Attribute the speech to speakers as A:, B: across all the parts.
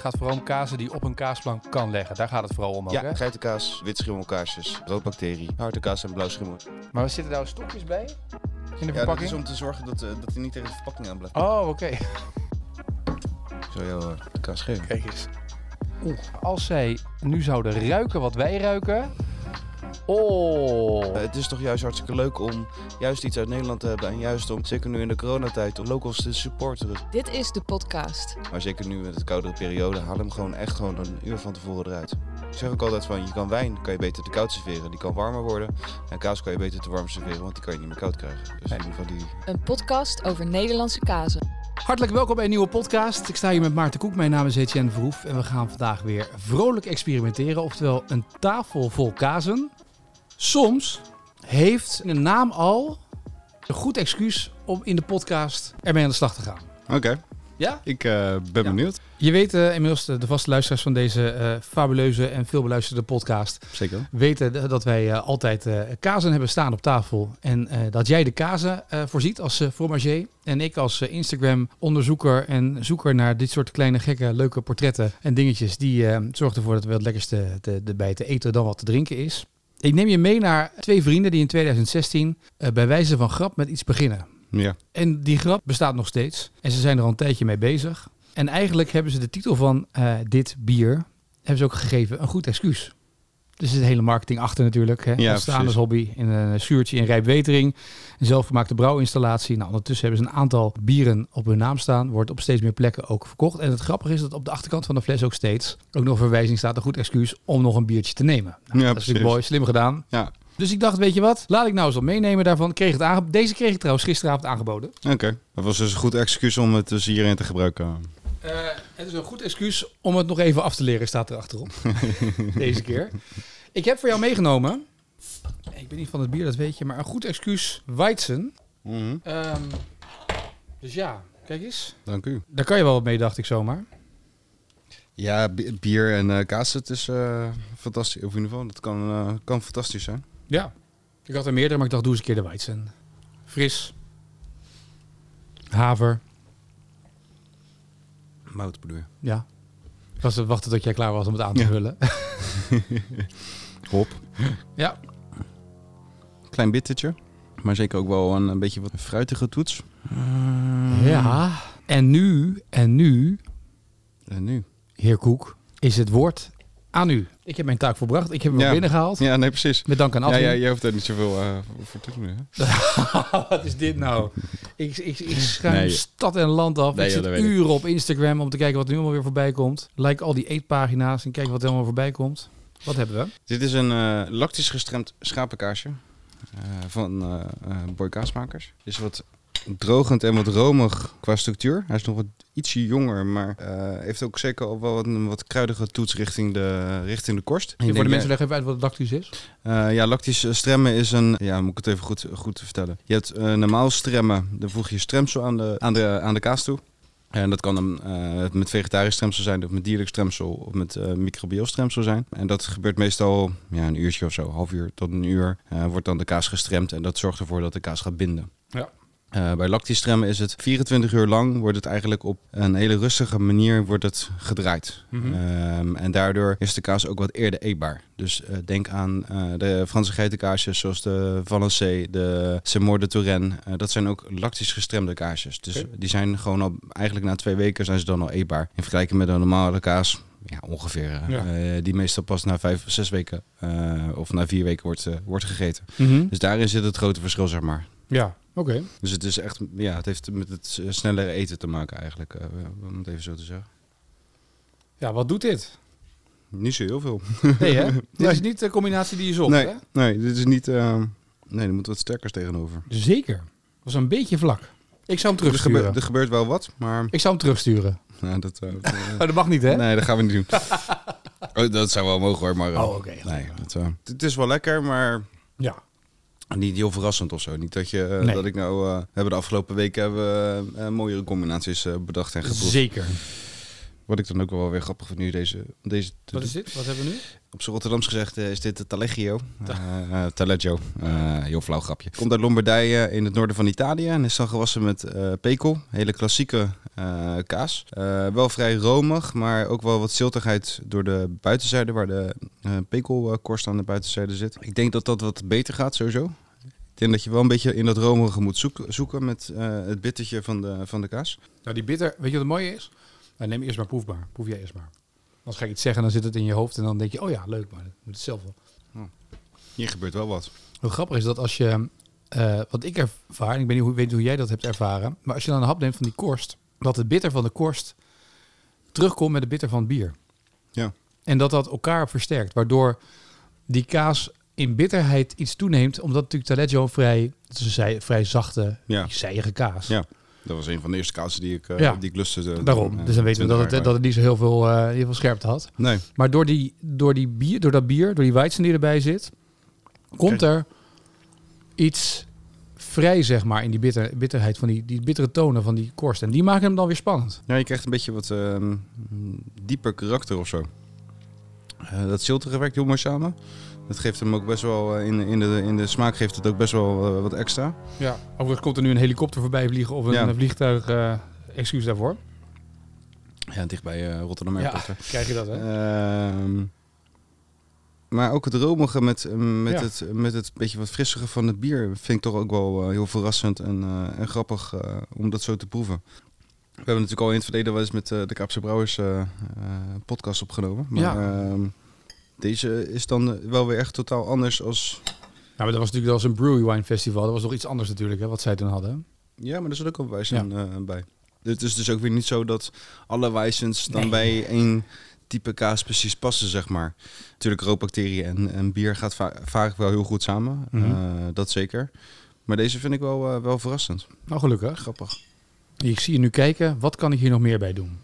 A: gaat vooral om kazen die op een kaasplank kan leggen. Daar gaat het vooral om ook, hè?
B: Ja, geitenkaas, wit schimmelkaasjes, roodbacterie, harde kaas en blauw schimmel.
A: Maar we zitten daar stokjes bij? In de
B: Ja, dat
A: verpakking?
B: is om te zorgen dat, eh, dat hij niet tegen de verpakking aan blijft.
A: Oh, oké.
B: Zo jou eh, de kaas geven.
A: Kijk eens. Oeh, als zij nu zouden ruiken wat wij ruiken. Oh.
B: Eh, het is toch juist hartstikke leuk om juist iets uit Nederland te hebben. En juist om, zeker nu in de coronatijd, om locals te supporteren.
C: Dit is de podcast.
B: Maar zeker nu met het koudere periode, haal hem gewoon echt gewoon een uur van tevoren eruit. Ik zeg ook altijd van, je kan wijn, kan je beter te koud serveren. Die kan warmer worden. En kaas kan je beter te warm serveren, want die kan je niet meer koud krijgen. Dus in ieder geval die...
C: Een podcast over Nederlandse kazen.
D: Hartelijk welkom bij een nieuwe podcast. Ik sta hier met Maarten Koek. Mijn naam is Etienne Verhoef. En we gaan vandaag weer vrolijk experimenteren. Oftewel een tafel vol kazen. Soms heeft een naam al een goed excuus om in de podcast ermee aan de slag te gaan.
E: Oké,
D: Ja?
E: ik eh, ben
D: Ja.
E: benieuwd.
D: Je weet eh, inmiddels, de, de vaste luisteraars van deze eh, fabuleuze en veelbeluisterde podcast,
E: Zeker.
D: weten d- dat wij eh, altijd eh, kazen hebben staan op tafel. En eh, dat jij de kazen eh, voorziet als eh fromager. En ik als eh, Instagram-onderzoeker en zoeker naar dit soort kleine, gekke, leuke portretten en dingetjes. Die eh, zorgt ervoor dat we het lekkerste te, te, bij te eten dan wat te drinken is. Ik neem je mee naar twee vrienden die in 2016 eh, bij wijze van grap met iets beginnen.
E: Ja.
D: En die grap bestaat nog steeds. En ze zijn er al een tijdje mee bezig. En eigenlijk hebben ze de titel van eh, dit bier hebben ze ook gegeven een goed excuus. Dus er zit hele marketing achter natuurlijk. Hè?
E: Ja,
D: Ontstaan als
E: precies.
D: hobby in een zuurtje in Rijpwetering. Een zelfgemaakte brouwinstallatie. Nou, ondertussen hebben ze een aantal bieren op hun naam staan. Wordt op steeds meer plekken ook verkocht. En het grappige is dat op de achterkant van de fles ook steeds... ook nog een verwijzing staat, een goed excuus om nog een biertje te nemen. Nou,
E: Ja,
D: dat is natuurlijk
E: precies.
D: mooi, slim gedaan.
E: Ja,
D: Dus ik dacht, weet je wat, laat ik nou eens wat meenemen daarvan. Kreeg het aange- Deze kreeg ik trouwens gisteravond aangeboden.
E: oké. Dat was dus een goed excuus om het dus hierin te gebruiken.
D: Eh, het is een goed excuus om het nog even af te leren, staat er achterop. Deze keer. Ik heb voor jou meegenomen, ik ben niet van het bier, dat weet je, maar een goed excuus Weizen.
E: Mhm.
D: Ehm, dus ja, kijk eens.
E: Dank u.
D: Daar kan je wel wat mee, dacht ik zomaar.
E: Ja, bi- bier en eh, kaas, het is eh, fantastisch. Of in ieder geval, dat kan, eh, kan fantastisch zijn.
D: Ja. Ik had er meerdere, maar ik dacht, doe eens een keer de Weizen. Fris. Haver.
E: Mout bedoel je?
D: Ja. Ik was te wachten tot jij klaar was om het aan te
E: Ja.
D: vullen.
E: Hop.
D: ja.
E: Klein bittertje. Maar zeker ook wel een, een beetje wat fruitige toets.
D: Ja. En nu, en nu,
E: En nu?
D: heer Koek, is het woord aan u. Ik heb mijn taak volbracht. Ik heb hem
E: Ja.
D: binnengehaald.
E: Ja, nee, precies.
D: Met dank aan
E: Ja,
D: Adrie.
E: ja, jij hoeft daar niet zoveel eh, voor te doen, hè?
D: Wat is dit nou? Ik, ik, ik schuim
E: Nee.
D: stad en land af.
E: Nee,
D: ik
E: joh,
D: zit
E: dat weet ik.
D: uren op Instagram om te kijken wat er nu allemaal weer voorbij komt. Like al die eetpagina's en kijk wat er allemaal voorbij komt. Wat hebben we?
E: Dit is een eh, lactisch gestremd schapenkaasje eh, van eh eh, Boy Kaasmakers. Is wat drogend en wat romig qua structuur. Hij is nog wat ietsje jonger, maar eh, heeft ook zeker al wel wat, een wat kruidige toets richting de, richting de korst. Ik
D: voor de
E: denk, eh,
D: mensen
E: ja,
D: leg even uit wat het lactisch is.
E: eh, ja, lactisch stremmen is een... Ja, moet ik het even goed, goed vertellen. Je hebt eh, normaal stremmen, dan voeg je stremsel aan de, aan de, aan de kaas toe. En dat kan dan eh, met vegetarisch stremsel zijn, of met dierlijk stremsel, of met eh microbieel stremsel zijn. En dat gebeurt meestal ja, een uurtje of zo, half uur tot een uur, eh, wordt dan de kaas gestremd. En dat zorgt ervoor dat de kaas gaat binden.
D: Ja.
E: Eh, bij lactisch stremmen is het 24 uur lang, wordt het eigenlijk op een hele rustige manier wordt het gedraaid.
D: Mhm.
E: Ehm, en daardoor is de kaas ook wat eerder eetbaar. Dus eh, denk aan eh, de Franse geitenkaasjes zoals de Valençay, de Semor de Touraine. Eh, dat zijn ook lactisch gestremde kaasjes. Dus
D: Oké.
E: die zijn gewoon al, eigenlijk na twee weken zijn ze dan al eetbaar. In vergelijking met een normale kaas, ja, ongeveer. eh,
D: Ja.
E: eh, die meestal pas na vijf, zes weken eh, of na vier weken wordt, eh, wordt gegeten.
D: Mhm.
E: Dus daarin zit het grote verschil, zeg maar.
D: Ja, oké.
E: Dus het is echt, ja, het heeft met het eh, snellere eten te maken eigenlijk, eh, om het even zo te zeggen.
D: Ja, wat doet dit?
E: Niet zo heel veel.
D: Nee, hè? Dit is niet de combinatie die je zocht,
E: nee,
D: hè?
E: nee, dit is niet, eh, nee, er moet wat sterkers tegenover. Dus
D: Zeker. Was een beetje vlak. Ik zou hem
E: Er
D: terugsturen.
E: gebeurt, er gebeurt wel wat, maar
D: Ik zou hem terugsturen.
E: nou, dat, eh, eh,
D: Maar dat mag niet, hè?
E: nee, dat gaan we niet doen. Oh, dat zou wel mogen hoor, maar eh,
D: Oh, oké, goed.
E: nee, dat, eh, het is wel lekker, maar
D: Ja.
E: niet heel verrassend of zo. Niet dat, je, eh,
D: Nee.
E: dat ik nou, eh, we hebben de afgelopen weken hebben, we, eh, mooiere combinaties eh, bedacht en geproefd.
D: Zeker.
E: Wat ik dan ook wel weer grappig vind nu deze... deze
D: Wat is dit? Wat hebben we nu?
E: Op z'n Rotterdams gezegd eh, is dit de Taleggio. Eh eh, Taleggio. Eh, heel flauw grapje. Komt uit Lombardije in het noorden van Italië. En is dan gewassen met eh pekel. Hele klassieke eh, kaas. Eh, wel vrij romig, maar ook wel wat ziltigheid door de buitenzijde. Waar de eh, pekelkorst aan de buitenzijde zit. Ik denk dat dat wat beter gaat sowieso. Ik denk dat je wel een beetje in dat romige moet zoeken, zoeken met eh, het bittertje van de, van de kaas.
D: Nou, die bitter, weet je wat het mooie is? Nou, neem eerst maar proefbaar. Proef jij eerst maar. Als ga ik iets zeggen, dan zit het in je hoofd en dan denk je, oh ja, leuk, maar dat moet het zelf wel.
E: Hier gebeurt wel wat.
D: Hoe grappig is dat als je, eh, wat ik ervaar, en ik weet niet, hoe, weet niet hoe jij dat hebt ervaren, maar als je dan een hap neemt van die korst, dat het bitter van de korst terugkomt met het bitter van het bier.
E: Ja.
D: En dat dat elkaar versterkt, waardoor die kaas in bitterheid iets toeneemt, omdat natuurlijk Taleggio een vrij, het is een zij, vrij zachte,
E: Ja.
D: zijige kaas.
E: Ja. Dat was een van de eerste kazen die ik, eh
D: Ja.
E: die ik lustte. eh,
D: Daarom,
E: eh,
D: dus dan weten we
E: 20
D: dat
E: jaar
D: het, dat
E: geleden.
D: het niet zo heel veel, eh, heel veel scherpte had.
E: Nee.
D: Maar door, die, door, die bier, door dat bier, door die weizen die erbij zit, komt er iets vrij, zeg maar, in die bitter, bitterheid van die, die bittere tonen van die korst. En die maken hem dan weer spannend.
E: Ja, je krijgt een beetje wat ehm, dieper karakter of zo. Eh, dat ziltige werkt heel mooi samen. Dat geeft hem ook best wel, eh, in, in, de, in de smaak geeft het ook best wel eh, wat extra.
D: Ja. Overigens komt er nu een helikopter voorbij vliegen of een
E: Ja.
D: vliegtuig. eh, excuus daarvoor.
E: Ja, dichtbij eh, Rotterdam
D: Ja,
E: Airport. hè.
D: krijg je dat, hè?
E: Ehm, maar ook het romige met, eh, met,
D: Ja.
E: het, met het beetje wat frissige van het bier vind ik toch ook wel eh, heel verrassend en, eh, en grappig eh, om dat zo te proeven. We hebben natuurlijk al in het verleden wel eens met eh, de Kaapse Brouwers eh, eh, podcast opgenomen. Maar
D: Ja.
E: ehm, deze is dan eh, wel weer echt totaal anders als...
D: Nou, maar dat was natuurlijk dat was een brewery wine festival. Dat was nog iets anders natuurlijk, hè, wat zij toen hadden.
E: Ja, maar er zit ook een wijzen bij. Het is dus ook weer niet zo dat alle wijzens dan bij één type kaas precies passen, zeg maar. Natuurlijk, roodbacteriën en, en bier gaat va- vaak wel heel goed samen.
D: Mhm.
E: Eh, dat zeker. Maar deze vind ik wel, eh, wel verrassend.
D: Nou, gelukkig.
E: Grappig.
D: Ik zie je nu kijken, wat kan ik hier nog meer bij doen?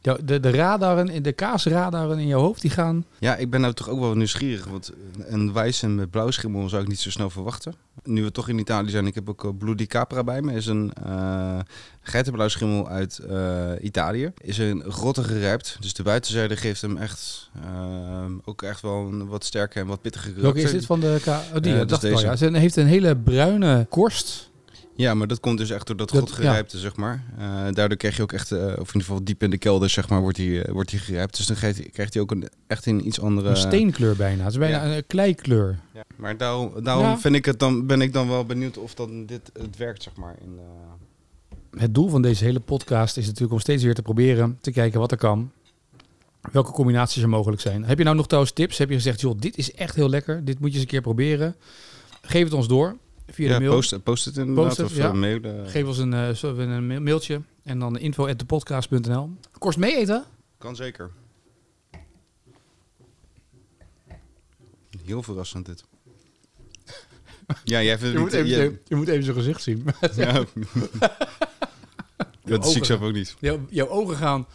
D: Ja, De, de radaren, in- de kaasradaren in je hoofd, die gaan...
E: Ja, ik ben nou toch ook wel nieuwsgierig. Want een wijzen met blauwschimmel zou ik niet zo snel verwachten. Nu we toch in Italië zijn, ik heb ook eh, Bloody Capra bij me. Is een eh geitenblauwschimmel uit eh, Italië. Is een grotte gerijpt. Dus de buitenzijde geeft hem echt eh, ook echt wel een wat sterker en wat pittiger
D: Welke
E: karakter.
D: is dit van de ka- oh, die,
E: Ja,
D: ja,
E: dat
D: dacht
E: is
D: ik al,
E: deze.
D: ja. Ze heeft een hele bruine korst.
E: Ja, maar dat komt dus echt door dat,
D: Dat-
E: goed gerijpte, zeg maar. Eh, daardoor krijg je ook echt, eh, of in ieder geval diep in de kelder, zeg maar, wordt hij eh, wordt hij gerijpt. Dus dan krijgt hij- krijgt hij ook een, echt een iets andere...
D: Een steenkleur bijna. Het is bijna een kleikleur.
E: Ja, maar daarom, daarom
D: Ja.
E: vind ik het dan, ben ik dan wel benieuwd of dan dit het werkt, zeg maar. In, eh,
D: Het doel van deze hele podcast is natuurlijk om steeds weer te proberen te kijken wat er kan. Welke combinaties er mogelijk zijn. Heb je nou nog trouwens tips? Heb je gezegd, joh, dit is echt heel lekker. Dit moet je eens een keer proberen. Geef het ons door via
E: ja,
D: de mail.
E: post, post het inderdaad,
D: Post het,
E: of
D: ja.
E: eh, mailen.
D: Geef ons een, eh, zo- een ma- mailtje. En dan info.depodcast.nl Korst mee eten?
E: kan zeker. Heel verrassend dit. ja, jij vindt het niet- jij-
D: je moet even zijn gezicht zien.
E: ja. Dat zie
D: ogen.
E: ik zelf ook niet.
D: Jouw, jouw ogen gaan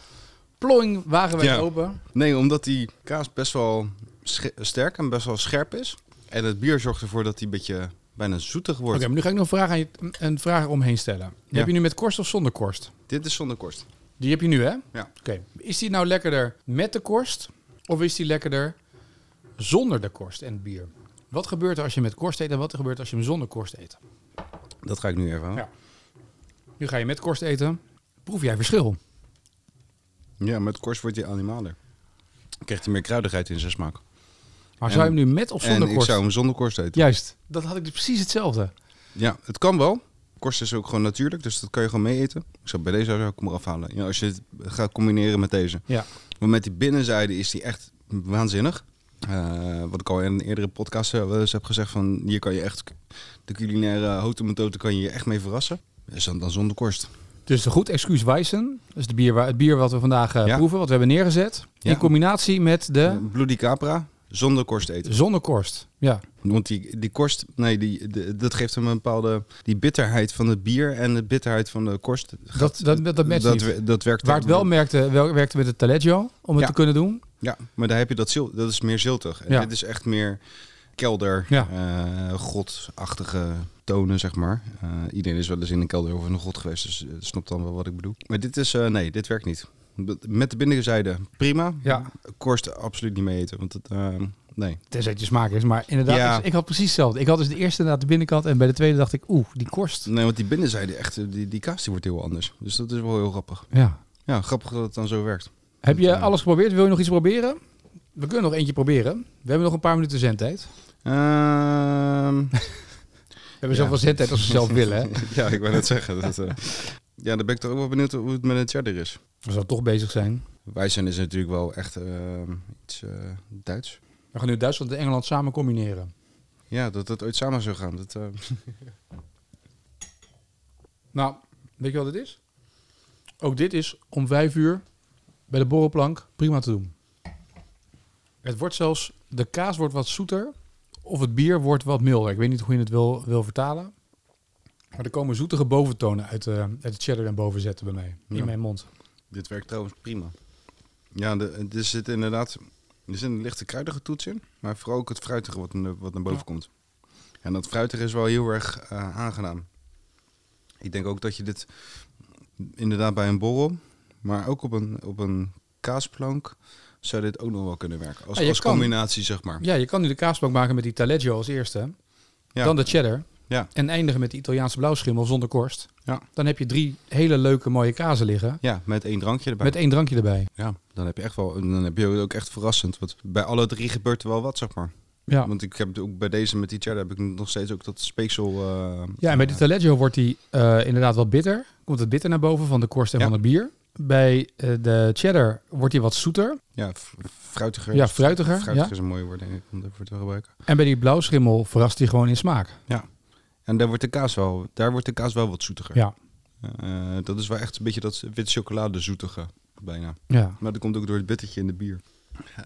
D: ploing wagenwijd
E: Ja.
D: open.
E: Nee, omdat die kaas best wel sche- sterk en best wel scherp is. En het bier zorgt ervoor dat die een beetje bijna zoetig
D: Oké,
E: wordt.
D: maar nu ga ik nog een vraag, aan je, een vraag omheen stellen. Die
E: Ja.
D: Heb je nu met korst of zonder korst?
E: Dit is zonder korst.
D: Die heb je nu, hè?
E: Ja.
D: Oké. Is die nou lekkerder met de korst? Of is die lekkerder zonder de korst en het bier? Wat gebeurt er als je met korst eet en wat er gebeurt als je hem zonder korst eet?
E: Dat ga ik nu even aan.
D: Ja. Nu ga je met korst eten. Proef jij verschil?
E: Ja, met korst wordt hij animaler. Krijgt hij meer kruidigheid in zijn smaak.
D: Maar
E: En-
D: zou je hem nu met of
E: en
D: zonder
E: ik
D: korst?
E: zou hem zonder korst eten. Ja.
D: Juist. Dat had ik dus precies hetzelfde.
E: het kan wel. Korst is ook gewoon natuurlijk, dus dat kan je gewoon mee eten. Ik zou bij deze zou ik hem eraf halen. Ja, als je het gaat combineren met deze.
D: Ja.
E: Want met die binnenzijde is die echt waanzinnig. Eh, wat ik al in een eerdere podcast eh, wel eens heb gezegd, van hier kan je echt de culinaire houten methode kan je je echt mee verrassen. Dus dan, dan zonder korst.
D: Dus een goed excuus wijzen. Dus de bier, wa- het bier wat we vandaag eh,
E: Ja.
D: proeven, wat we hebben neergezet.
E: Ja.
D: In combinatie met de
E: Bloody Capra, zonder korst eten.
D: zonder korst. Ja.
E: Want die, die korst, nee, die, de- dat geeft hem een bepaalde. Die bitterheid van het bier en de bitterheid van de korst.
D: Dat, dat, dat, dat matcht
E: dat,
D: niet.
E: we- dat werkt
D: Waar het wel
E: mee.
D: merkte, wel werkte met het Taleggio, om het
E: Ja.
D: te kunnen doen.
E: Ja, maar daar heb je dat zil, Dat is meer ziltig. En
D: Ja.
E: dit is echt meer kelder,
D: Ja.
E: eh, godachtige tonen, zeg maar. Eh, iedereen is wel eens in een kelder of in een god geweest, dus eh, snapt dan wel wat ik bedoel. Maar dit is, eh, nee, dit werkt niet. Met de binnenzijde, prima.
D: Ja.
E: Korst absoluut niet mee eten, want het, eh, nee.
D: Tenzij het je smaak is. Maar inderdaad,
E: Ja.
D: ik, ik had precies hetzelfde. Ik had dus de eerste inderdaad de binnenkant en bij de tweede dacht ik, oeh, die korst.
E: Nee, want die binnenzijde, echt, eh, die, die kaas die wordt heel anders. Dus dat is wel heel grappig.
D: Ja.
E: Ja, grappig dat het dan zo werkt.
D: Heb je
E: Ja.
D: alles geprobeerd? Wil je nog iets proberen? We kunnen nog eentje proberen. We hebben nog een paar minuten zendtijd.
E: Ehm,
D: We hebben
E: Ja.
D: zoveel zendtijd als we zelf willen. Hè?
E: ja, ik wou net zeggen. Dat, eh, ja, dan ben ik toch ook wel benieuwd hoe het met een cheddar is.
D: We zouden toch bezig zijn.
E: Wijzen is natuurlijk wel echt ehm, iets eh, Duits.
D: We gaan nu Duitsland en Engeland samen combineren.
E: Ja, dat dat ooit samen zou gaan. Dat, eh,
D: Nou, weet je wat het is? Ook dit is om vijf uur bij de borrelplank prima te doen. Het wordt zelfs, de kaas wordt wat zoeter of het bier wordt wat milder. Ik weet niet hoe je het wil, wil vertalen. Maar er komen zoetige boventonen uit, eh uit de cheddar en boven zetten bij mij,
E: Ja.
D: in mijn mond.
E: dit werkt trouwens prima. Ja, de, eh, er zit inderdaad er zit een lichte kruidige toets in. Maar vooral ook het fruitige wat, naar- wat naar boven
D: Ja.
E: komt. En dat fruitige is wel heel erg eh, aangenaam. Ik denk ook dat je dit inderdaad bij een borrel, maar ook op een, op een kaasplank zou dit ook nog wel kunnen werken.
D: Ja,
E: Als,
D: Ah, je
E: als
D: kan.
E: combinatie, zeg maar.
D: Ja, je kan nu de kaasplank maken met die taleggio als eerste.
E: Ja.
D: Dan de cheddar.
E: Ja.
D: En eindigen met de Italiaanse blauwschimmel zonder korst.
E: Ja.
D: Dan heb je drie hele leuke mooie kazen liggen.
E: Ja, met één drankje erbij.
D: Met één drankje erbij.
E: Ja, dan heb je echt wel, dan heb je ook echt verrassend. Want bij alle drie gebeurt er wel wat, zeg maar.
D: Ja.
E: Want ik heb ook bij deze met die cheddar heb ik nog steeds ook dat speeksel. eh,
D: Ja, en bij
E: eh,
D: de Taleggio wordt die eh, inderdaad wat bitter. Komt het bitter naar boven van de korst en
E: Ja.
D: van het bier. Bij eh, de cheddar wordt die wat zoeter.
E: ja, fr- fruitiger.
D: Ja, fruitiger,
E: Fruitiger
D: ja.
E: is een mooi woord denk ik, om daarvoor te gebruiken.
D: En bij die blauwschimmel verrast die gewoon in smaak.
E: En daar wordt de kaas wel, daar wordt de kaas wel wat zoetiger.
D: Ja.
E: Eh, dat is wel echt een beetje dat wit chocolade zoetige bijna.
D: Ja.
E: Maar dat komt ook door het bittertje in de bier.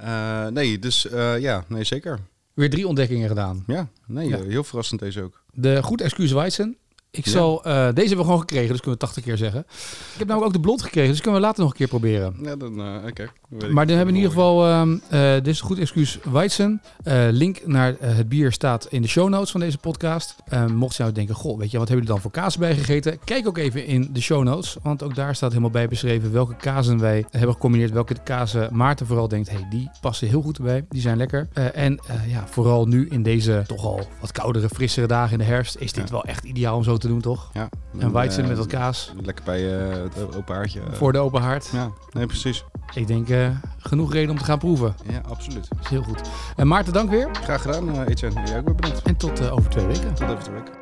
E: Eh, nee, dus eh, ja, nee zeker.
D: Weer drie ontdekkingen gedaan.
E: Ja, nee,
D: Ja.
E: eh, heel verrassend deze ook.
D: De goed excuus Weizen. Ik
E: Ja.
D: zal, eh, deze hebben we gewoon gekregen, dus kunnen we 80 keer zeggen. Ik heb namelijk ook de blond gekregen, dus kunnen we later nog een keer proberen.
E: Ja, dan eh, oké. Weet ik.
D: Maar dan hebben we in ieder
E: Mooi.
D: geval, ehm, eh, dit is een goed excuus, Weizen. Eh, link naar eh, het bier staat in de show notes van deze podcast. Eh, mocht je nou denken, goh, weet je, wat hebben jullie dan voor kaas bijgegeten? Kijk ook even in de show notes, want ook daar staat helemaal bij beschreven welke kazen wij hebben gecombineerd. Welke kazen Maarten vooral denkt, hey, die passen heel goed erbij, die zijn lekker. Eh, en eh, ja, vooral nu in deze toch al wat koudere, frissere dagen in de herfst, is dit
E: Ja.
D: wel echt ideaal om zo te doen, toch?
E: Ja,
D: En Weizen
E: eh,
D: met wat kaas
E: Lekker bij eh, het open haartje. eh.
D: voor de open haard.
E: Ja, nee, precies.
D: Ik denk, eh, genoeg reden om te gaan proeven.
E: Ja, absoluut.
D: Dat is heel goed. En Maarten, dank weer.
E: Graag gedaan, eh Etienne. Jij ook weer bedankt.
D: En tot eh, over twee weken.
E: Tot over de week.